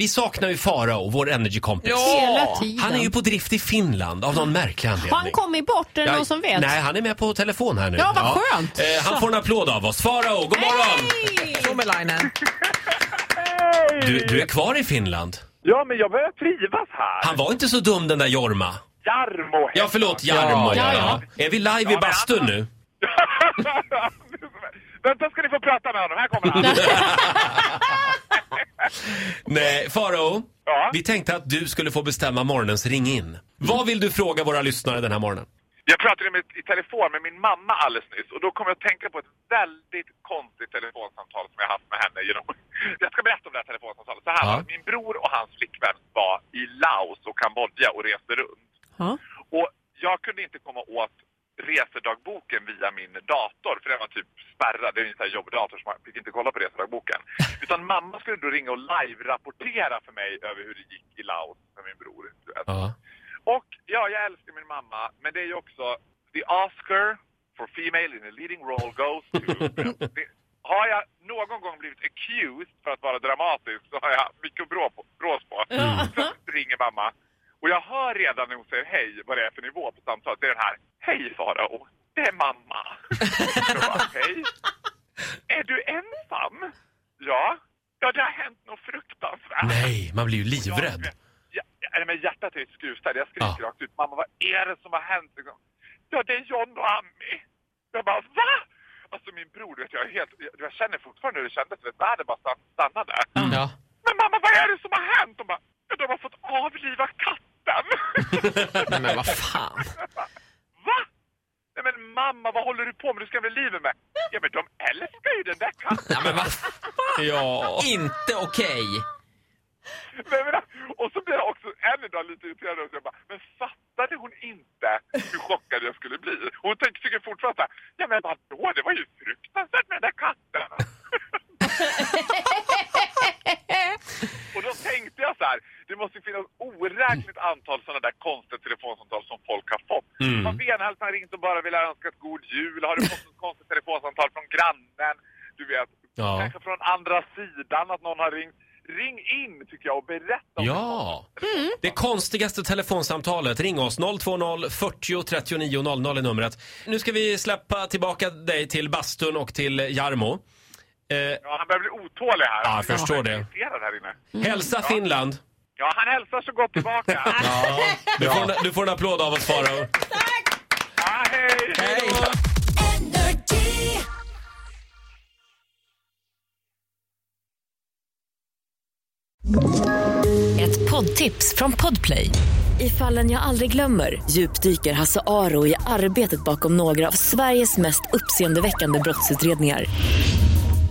Vi saknar ju Farao, vår energikompis. Hela tiden. Han är ju på drift i Finland av någon märklig anledning. Har han kommit bort? Är det Ja, någon som vet? Nej, han är med på telefon här nu. Ja, vad skönt. Eh, han får en applåd av oss. Farao, god morgon! Tomelainen. Hej! Du, du är kvar i Finland. Ja, men jag börjar trivas här. Han var inte så dum den där Jorma. Jarmo heter Ja, förlåt, Ja, Jarmo. Ja, ja. Är vi live i men bastun han- nu? han. Vänta ska ni få prata med honom. Här kommer han. Nej, Farao. Ja. Vi tänkte att du skulle få bestämma morgonens ring in. Vad vill du fråga våra lyssnare den här morgonen? Jag pratade med, i telefon med min mamma alldeles nyss och då kom jag att tänka på ett väldigt konstigt telefonsamtal som jag haft med henne genom... Jag ska berätta om det här telefonsamtalet. Så här Ja. var det. Min bror och hans flickvän var i Laos och Kambodja och reste runt. Ja. Och jag kunde inte komma åt resedagboken via min dator, för den var typ spärrad. Det är en sån här jobbdator så man fick inte kolla på resedagboken. Utan mamma skulle då ringa och live-rapportera för mig över hur det gick i Laos med min bror. Du vet. Ja. Och ja, jag älskar min mamma, men det är ju också the Oscar for female in a leading role goes to... Det- har jag någon gång blivit accused för att vara dramatisk så har jag mycket brås på. Brås på. Plötsligt ringer mamma och jag hör redan när hon säger hej vad det är för nivå på samtalet. Det är den här, hej Farao, det är mamma. Jag bara, hej. Är du ensam? Ja. Ja, det har hänt något fruktansvärt. Nej, man blir ju Jag- livrädd. Ja, ja, men hjärtat är skrutat. Jag skriker Ja. rakt ut. Mamma, vad är det som har hänt? Liksom. Ja, det är John och Ami. Jag bara, va? Alltså min bror, du vet, jag, är helt, jag, jag känner fortfarande hur det kändes. du Vet, världen bara stann- stannade. Ja. Men mamma, vad är det som har hänt? De bara, ja, de har fått avliva katten. Nej men vad fan. va? Nej men mamma, vad håller du på med? Du skrämmer livet med. Ja men de älskar ju den där katten. Nej men vad Ja. Inte okej. Men, men, och så blir jag också än idag lite irriterad och jag bara, men fattade hon inte hur chockad jag skulle bli? Hon tänker tycker fortfarande så här, ja men vadå, det var ju fruktansvärt med den där katten. och då tänkte jag så här, det måste ju finnas oräkneligt antal sådana där konstiga telefonsamtal som folk har fått. Mm. Man Venhals har ringt och bara vill ha önskat god jul, har du fått ett konstigt telefonsamtal från grannen? Du vet, Ja. kanske från andra sidan att någon har ringt. Ring in tycker jag och berätta om det. Ja. Det konstigaste telefonsamtalet. Ring oss. 020 40 39 00 är numret. Nu ska vi släppa tillbaka dig till bastun och till Jarmo. Eh, Ja, han börjar bli otålig här. Ja, jag förstår Mm. det. Han är irriterad här inne. hälsa Finland. Ja, han hälsar så gott tillbaka. Du får, en- du får en applåd av oss, Farao. ja, hej! Hej. Ett poddtips från Podplay. I fallen jag aldrig glömmer djupdyker Hasse Aro i arbetet bakom några av Sveriges mest uppseendeväckande brottsutredningar.